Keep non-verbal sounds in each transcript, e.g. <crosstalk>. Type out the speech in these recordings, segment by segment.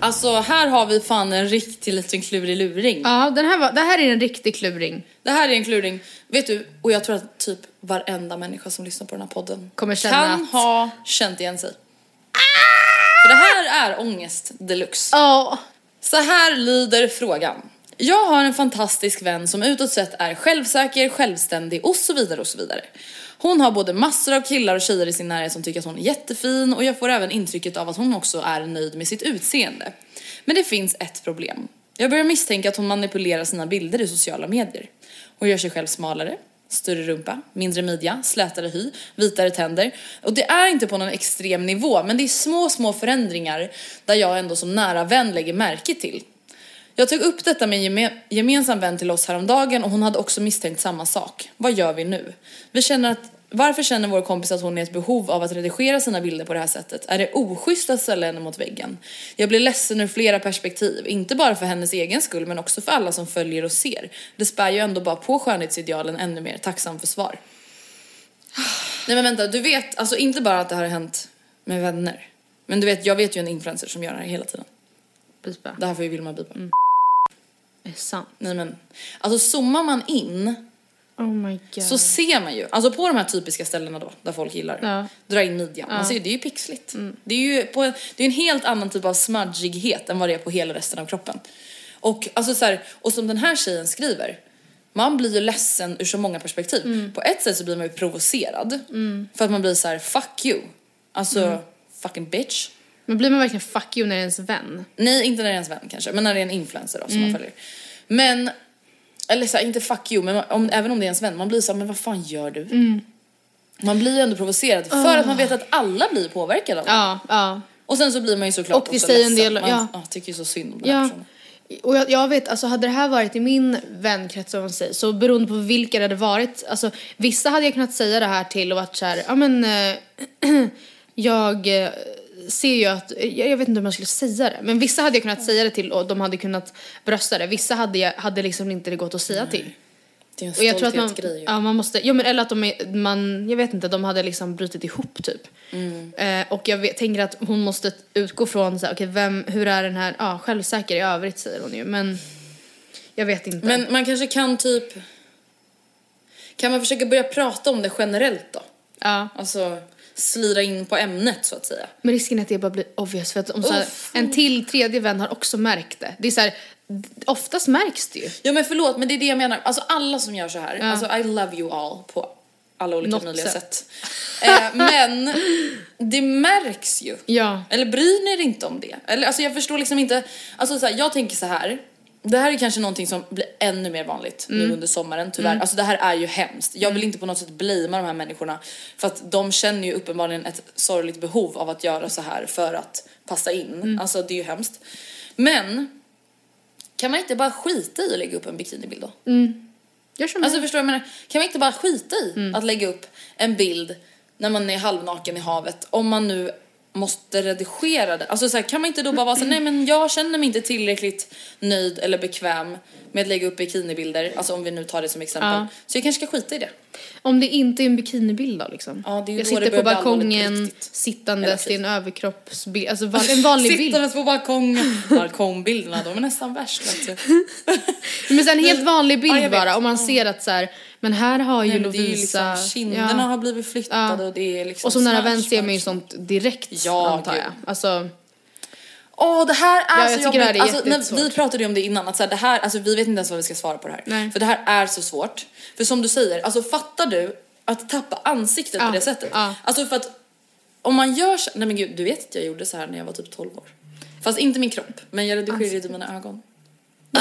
Alltså här har vi fan en riktig liten klurig luring. Ja, den här var, det här är en riktig kluring. Det här är en kluring, vet du, och jag tror att typ varenda människa som lyssnar på den här podden Kommer känna kan att- ha känt igen sig. För det här är ångest deluxe. Ja. Så här lyder frågan. Jag har en fantastisk vän som utåt sett är självsäker, självständig och så vidare och så vidare. Hon har både massor av killar och tjejer i sin närhet som tycker att hon är jättefin och jag får även intrycket av att hon också är nöjd med sitt utseende. Men det finns ett problem. Jag börjar misstänka att hon manipulerar sina bilder i sociala medier. Hon gör sig själv smalare, större rumpa, mindre midja, slätare hy, vitare tänder. Och det är inte på någon extrem nivå, men det är små, små förändringar där jag ändå som nära vän lägger märke till. Jag tog upp detta med en geme- gemensam vän till oss häromdagen och hon hade också misstänkt samma sak. Vad gör vi nu? Vi känner att varför känner vår kompis att hon är ett behov av att redigera sina bilder på det här sättet? Är det oschysst att ställa henne mot väggen? Jag blir ledsen ur flera perspektiv, inte bara för hennes egen skull men också för alla som följer och ser. Det spär ju ändå bara på skönhetsidealen ännu mer. Tacksam för svar. Nej men vänta, du vet alltså inte bara att det här har hänt med vänner. Men du vet, jag vet ju en influencer som gör det här hela tiden. Pipa. Det här får ju Vilma bipa. Det Mm. är sant. Nej men, alltså zoomar man in Oh my god. så ser man ju, alltså på de här typiska ställena då, där folk gillar, Ja. Mm. dra in midjan. Man ser ju, det är ju pixligt. Det är ju på, det är en helt annan typ av smudgighet än vad det är på hela resten av kroppen. Och, alltså så här, och som den här tjejen skriver, man blir ju ledsen ur så många perspektiv. Mm. På ett sätt så blir man ju provocerad. För att man blir så här: fuck you. Alltså, fucking bitch. Mm. Men blir man verkligen fuck you när det är ens vän? Mm. Nej, inte när det är ens vän kanske, men när det är en influencer då, som man följer. Men, eller så här, inte fuck you, men om, även om det är ens vän, man blir så här, men vad fan gör du? Mm. Man blir ju ändå provocerad för att man vet att alla blir påverkade av det. Ah. Ja, ja. Och sen så blir man ju såklart Och det också säger en ledsen. del- man ah, ja. tycker ju så synd om den här ja. personen. Och jag, jag vet, alltså hade det här varit i min vänkrets om man säger, så beroende på vilka det hade varit, alltså vissa hade jag kunnat säga det här till och varit såhär, ja men eh, <clears throat> jag eh, ser ju att, jag, jag vet inte hur man skulle säga det, men vissa hade jag kunnat säga det till och de hade kunnat brösta det, vissa hade, jag, hade liksom inte det gått att säga till. Det är en Och jag tror att man, stolthetsgrej ju. ja, man måste, ja, men eller att de är, man, jag vet inte, de hade liksom brutit ihop typ. Mm. Eh, och jag vet, tänker att hon måste utgå från så här, okej vem, hur är den här, ja självsäker i övrigt säger hon ju, men jag vet inte. Men man kanske kan typ, kan man försöka börja prata om det generellt då? ja. Alltså slira in på ämnet så att säga. men risken är att det bara blir obvious för att om så här, Uff. en till tredje vän har också märkt det. Det är så här, d- oftast märks det ju. Ja men förlåt men det är det jag menar. Alltså alla som gör så här. Alltså I love you all på alla olika Något möjliga sätt. sätt. Eh, men det märks ju. Ja. Eller bryr ni er inte om det? Eller, alltså jag förstår liksom inte. Alltså så här, jag tänker så här. Det här är kanske någonting som blir ännu mer vanligt Mm. nu under sommaren tyvärr. Alltså det här är ju hemskt. Jag vill inte på något sätt blima de här människorna. För att de känner ju uppenbarligen ett sorgligt behov av att göra så här för att passa in. Mm. Alltså det är ju hemskt. Men kan man inte bara skita i att lägga upp en bikinibild då? Mm. Gör som Mm. Alltså förstår du vad jag menar? Kan man inte bara skita i att lägga upp en bild när man är halvnaken i havet om man nu måste redigera den? Alltså så här, kan man inte då bara vara så här, nej men jag känner mig inte tillräckligt nöjd eller bekväm med att lägga upp bikinibilder, alltså om vi nu tar det som exempel. Ja. Så jag kanske ska skita i det. Om det inte är en bikinibild då liksom. Ja, det är ju jag då det sitter på börjar bli allvarligt på balkongen riktigt. sittandes Eller typ. i en överkroppsbild. Alltså val- en vanlig bild. Sittandes på balkongen, balkongbilderna, de är nästan värst vet du. <laughs> Men sen en helt vanlig bild Ja, jag vet. bara. Om man ser att så här, men här har ju Nej, men det är ju Lovisa... liksom, kinderna ja. har blivit flyttade Ja. och det är liksom Och som nära snatch, vän ser man ju snatch. sånt direkt Ja, antar jag. gud. Alltså, Åh det här är Ja, jag så tycker det här är alltså, när, Vi jättesvårt. pratade ju om det innan, att så här, det här, alltså, vi vet inte ens vad vi ska svara på det här. Nej. För det här är så svårt. För som du säger, alltså fattar du att tappa ansiktet Ja, på det sättet? ja. Alltså för att om man gör så, nej men gud du vet att jag gjorde så här när jag var typ 12 år. Fast inte min kropp, men jag redigerade ju mina ögon. <laughs>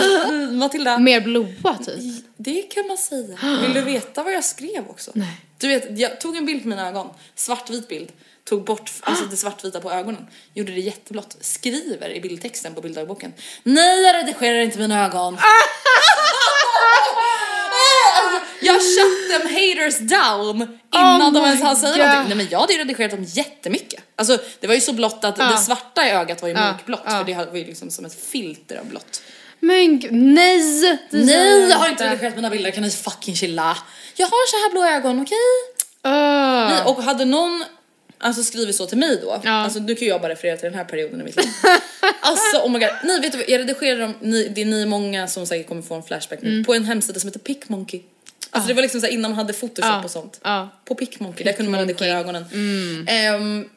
Matilda, mer blåa typ. det kan man säga. Vill du veta vad jag skrev också? Nej. Du vet, jag tog en bild på mina ögon, svartvit bild, tog bort alltså, det svartvita på ögonen, gjorde det jätteblått, skriver i bildtexten på bilddagboken. Nej, jag redigerar inte <laughs> mina ögon. Alltså, Jag shut them haters down innan de Oh my ens hann säga God. någonting. Nej men jag hade ju redigerat dem jättemycket. Alltså det var ju så blått att det svarta i ögat var ju Ja, mörkblått ja. för det var ju liksom som ett filter av blått. Men gud, nej! det säger Nej, jag har inte redigerat mina bilder, kan ni fucking chilla? Jag har så här blå ögon, okej? Öh. Nej, Och hade någon alltså, skrivit så till mig då, Ja. alltså nu kan jag bara referera till den här perioden i mitt <laughs> liv. alltså oh my god, nej vet du vad, jag redigerade dem, ni, det är ni många som säkert kommer få en flashback nu, Mm. på en hemsida som heter Pickmonkey. Ah. Alltså det var liksom så här, innan man hade photoshop Ja. och sånt. Ja. På Pickmonkey, där kunde man redigera ögonen. Mm. Ehm,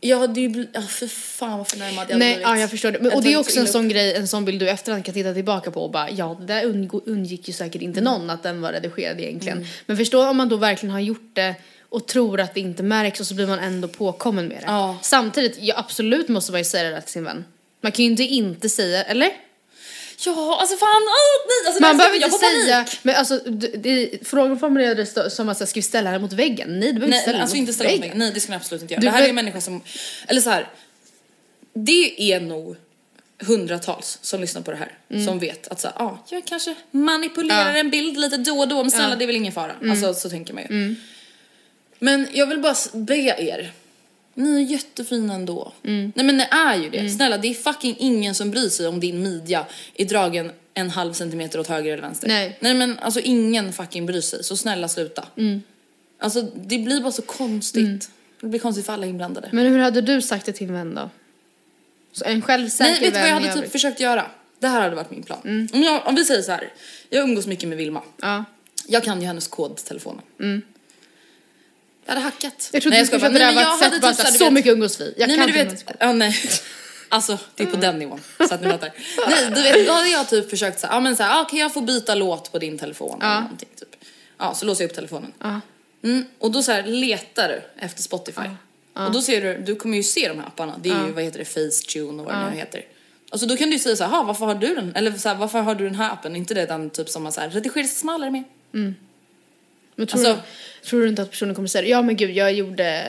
jag hade ju blivit, ja för fan vad förnärmad jag hade Nej, blivit. ja, jag förstår det. Men, Jag och det är tog så också en illa upp. sån grej, en sån bild du i efterhand kan titta tillbaka på och bara ja, det där undg- undgick ju säkert inte någon att den var redigerad egentligen. Men förstå om man då verkligen har gjort det och tror att det inte märks och så blir man ändå påkommen med det. Ja. Samtidigt, ja, absolut måste man ju säga det där till sin vän. Man kan ju inte inte säga, eller? Ja, alltså fan, åh, nej, alltså, Man det här- behöver jag inte får panik. säga, men alltså d- det, frågan formulerades då som att så här, ska vi ställa den mot väggen? Nej, du behöver inte Nej, ställa den alltså mot inte ställa mig. väggen. Nej, det skulle jag absolut inte göra. Du det här är vet- en människa som, eller så här. Det är nog hundratals som lyssnar på det här Mm. som vet att så här, ah, jag kanske manipulerar en bild lite då och då, men snälla det är väl ingen fara. Mm. Alltså så tänker man ju. Men jag vill bara s- be er. Ni är jättefina ändå. Mm. Nej men ni är ju det. Snälla det är fucking ingen som bryr sig om din midja är dragen en halv centimeter åt höger eller vänster. Nej. Nej men alltså ingen fucking bryr sig. Så snälla sluta. Mm. Alltså det blir bara så konstigt. Det blir konstigt för alla inblandade. Men hur hade du sagt det till en vän då? Så en självsäker Nej, vet du vad vän jag i hade typ övrigt. Mm. försökt göra? Det här hade varit min plan. Om, jag, om vi säger så här, jag umgås mycket med Vilma. Ja. Mm. Jag kan ju hennes kod till telefonen. Jag hade hackat. Jag trodde du skulle försöka skojar bara. Nej, men dräva jag ett sätt hade bara typ såhär, här, du så vet- mycket umgås vi. Jag nej kan typ men du inte vet, ja, nej. Alltså det är på den nivån så att ni <laughs> fattar. Nej du vet då hade jag typ försökt såhär, ja men såhär, ah, kan jag få byta låt på din telefon eller någonting typ. Ja så låser jag upp telefonen. Mm, och då så här letar du efter Spotify. Och då ser du, du kommer ju se de här apparna. Det är ju vad heter det, Facetune och vad det nu heter. Alltså då kan du ju säga såhär, "Ha, varför har du den? Eller såhär, varför har du den här appen? Inte det den typ som man såhär redigerar smalare med. Men tror, Alltså- du, tror du inte att personen kommer säga det? Ja men gud, jag gjorde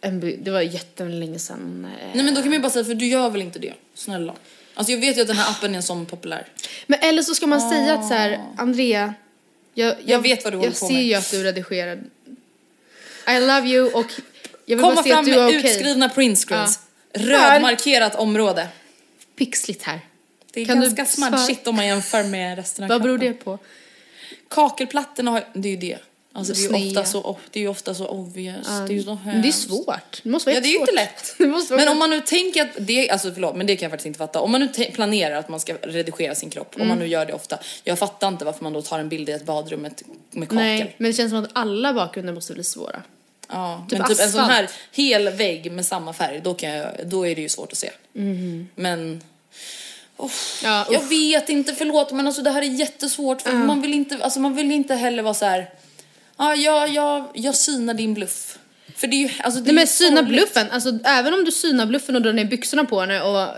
en by- Det var jättelänge sedan. eh. Nej men då kan man ju bara säga, för du gör väl inte det? Snälla. Alltså jag vet ju att den här appen är en sån populär. Men eller så ska man säga att så här, Andrea, jag, jag, vet vad du håller Jag på ser med." ju att du redigerar. I love you och jag vill Komma bara se att fram du med är okej. utskrivna printscreens. Här. Rödmarkerat område. Pixligt här. Det är Kan du ganska svara- smudgigt om man jämför med resten av Vad beror kroppen. det på? Kakelplattorna har det är ju det. Alltså det är ju Snea. ofta så, oh, det är ju ofta så obvious. Det är ju så Men det är hemskt. svårt. Det måste vara Ja det är ju inte jättesvårt. lätt. <laughs> det måste vara Men om man nu tänker att det, alltså förlåt men det kan jag faktiskt inte fatta. Om man nu te- planerar att man ska redigera sin kropp, om Mm. man nu gör det ofta. Jag fattar inte varför man då tar en bild i ett badrum med, med kakel. Nej, men det känns som att alla bakgrunder måste bli svåra. Ja, Typ men typ en sån asfalt. här hel vägg med samma färg, då, kan jag, då är det ju svårt att se. Mhm. Men... Oh, Ja, jag uff. vet inte, förlåt men alltså det här är jättesvårt för man, vill inte, alltså, man vill inte heller vara så här. ja, "Ah, jag, jag, jag synar din bluff. För det är ju, alltså det Nej är men ju syna sorgligt. bluffen, alltså även om du synar bluffen och drar ner byxorna på henne och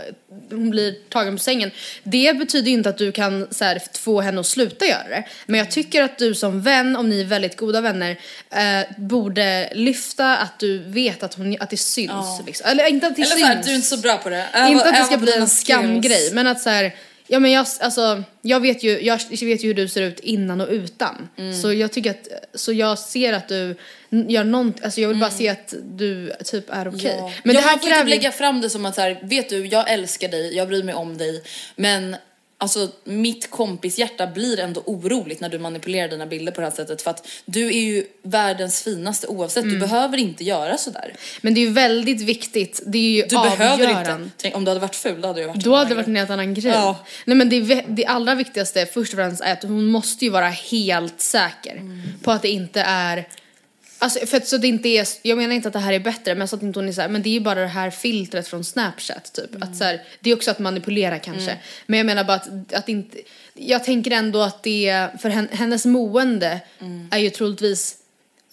hon blir tagen på sängen. Det betyder ju inte att du kan så här, få henne att sluta göra det. Men jag tycker att du som vän, om ni är väldigt goda vänner, eh, borde lyfta att du vet att, hon, att det syns. Liksom. Eller inte att det Eller syns. såhär, du är inte så bra på det. Öva- inte att det öva ska på bli dina en skills. skamgrej, men att så här, ja men jag, alltså, jag vet ju, jag vet ju hur du ser ut innan och utan. Mm. Så jag tycker att, så jag ser att du n- gör någonting, alltså jag vill bara se att du typ är okej. Mm. Ja. Men jag det här får inte kräver lägga fram det som att så här, vet du, jag älskar dig, jag bryr mig om dig, men alltså mitt kompishjärta blir ändå oroligt när du manipulerar dina bilder på det här sättet för att du är ju världens finaste oavsett, du behöver inte göra sådär. Mm. men det är ju väldigt viktigt, det är ju Du behöver avgörande. inte. Tänk, om du hade varit ful, då hade du varit Då hade det varit en helt annan grej. Ja. Nej men det, är vä- det allra viktigaste först och främst är att hon måste ju vara helt säker Mm. på att det inte är Alltså för att så det inte är, jag menar inte att det här är bättre men så att inte hon är så här, men det är ju bara det här filtret från snapchat typ. Att så här, det är också att manipulera kanske. Men jag menar bara att, att inte, jag tänker ändå att det, är- för hen, hennes mående är ju troligtvis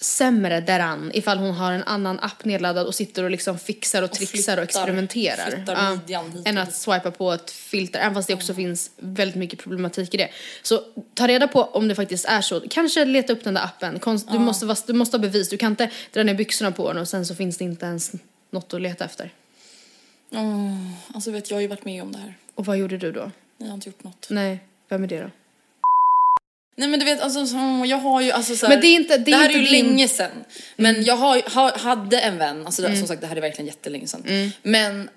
sämre däran ifall hon har en annan app nedladdad och sitter och liksom fixar och trixar och, flyttar- experimenterar. flyttar Ja. midjan hit och än dit. Mm. att swipa på ett filter, även fast det också finns väldigt mycket problematik i det. Så ta reda på om det faktiskt är så. Kanske leta upp den där appen. Konst, du, måste, vara- du måste ha bevis. Du kan inte dra ner byxorna på den och sen så finns det inte ens något att leta efter. Alltså vet, jag har ju varit med om det här. Och vad gjorde du då? Jag har inte gjort något. Nej, vem är det då? Nej men du vet, alltså, så- jag har ju alltså så här, Men det är inte- det är här inte är ju din- Mm. länge sedan. Men jag har, ha, hade en vän, alltså det- som sagt det här är verkligen jättelänge sedan. Men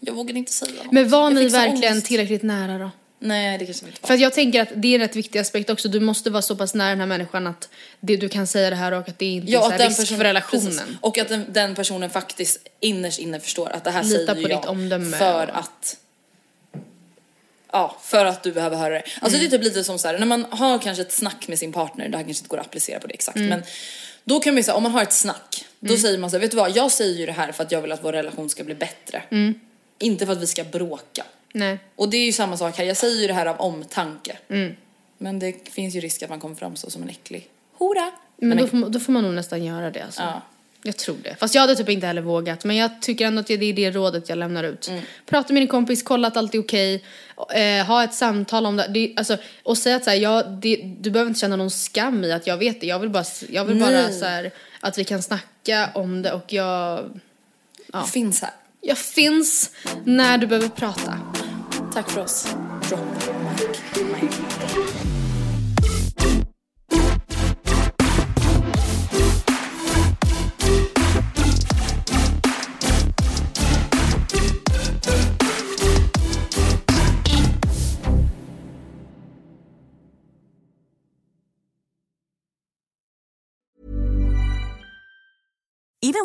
jag vågade inte säga något. Mm. Men var Jag ni fick så verkligen ångest. tillräckligt nära då? Nej det kanske vi inte var. För att jag tänker att det är en rätt viktig aspekt också. Du måste vara så pass nära den här människan att det, du kan säga det här och att det inte är så här risk för relationen. precis. och att den, den personen faktiskt innerst inne förstår att det här Lita säger på ju jag ditt omdöme. för att Ja, för att du behöver höra det. Alltså Mm. det är typ lite som så här, när man har kanske ett snack med sin partner, det här kanske inte går att applicera på det exakt, Mm. men då kan man ju säga, om man har ett snack, då säger man så här, vet du vad, jag säger ju det här för att jag vill att vår relation ska bli bättre. Inte för att vi ska bråka. Mm. Nej. Och det är ju samma sak här, jag säger ju det här av omtanke. Mm. Men det finns ju risk att man kommer fram så som en äcklig hora. Men då får, man- då får man nog nästan göra det alltså. Ja. Jag tror det. Fast jag hade typ inte heller vågat. Men jag tycker ändå att det är det rådet jag lämnar ut. Mm. Prata med din kompis, kolla att allt är okej. Eh, ha ett samtal om det. det alltså, och säga att så här, ja, det, du behöver inte känna någon skam i att jag vet det. Jag vill bara, jag vill bara Nej. så här, att vi kan snacka om det och jag, Jag finns här. jag finns när du behöver prata. Tack för oss. Drop mic. mic. Even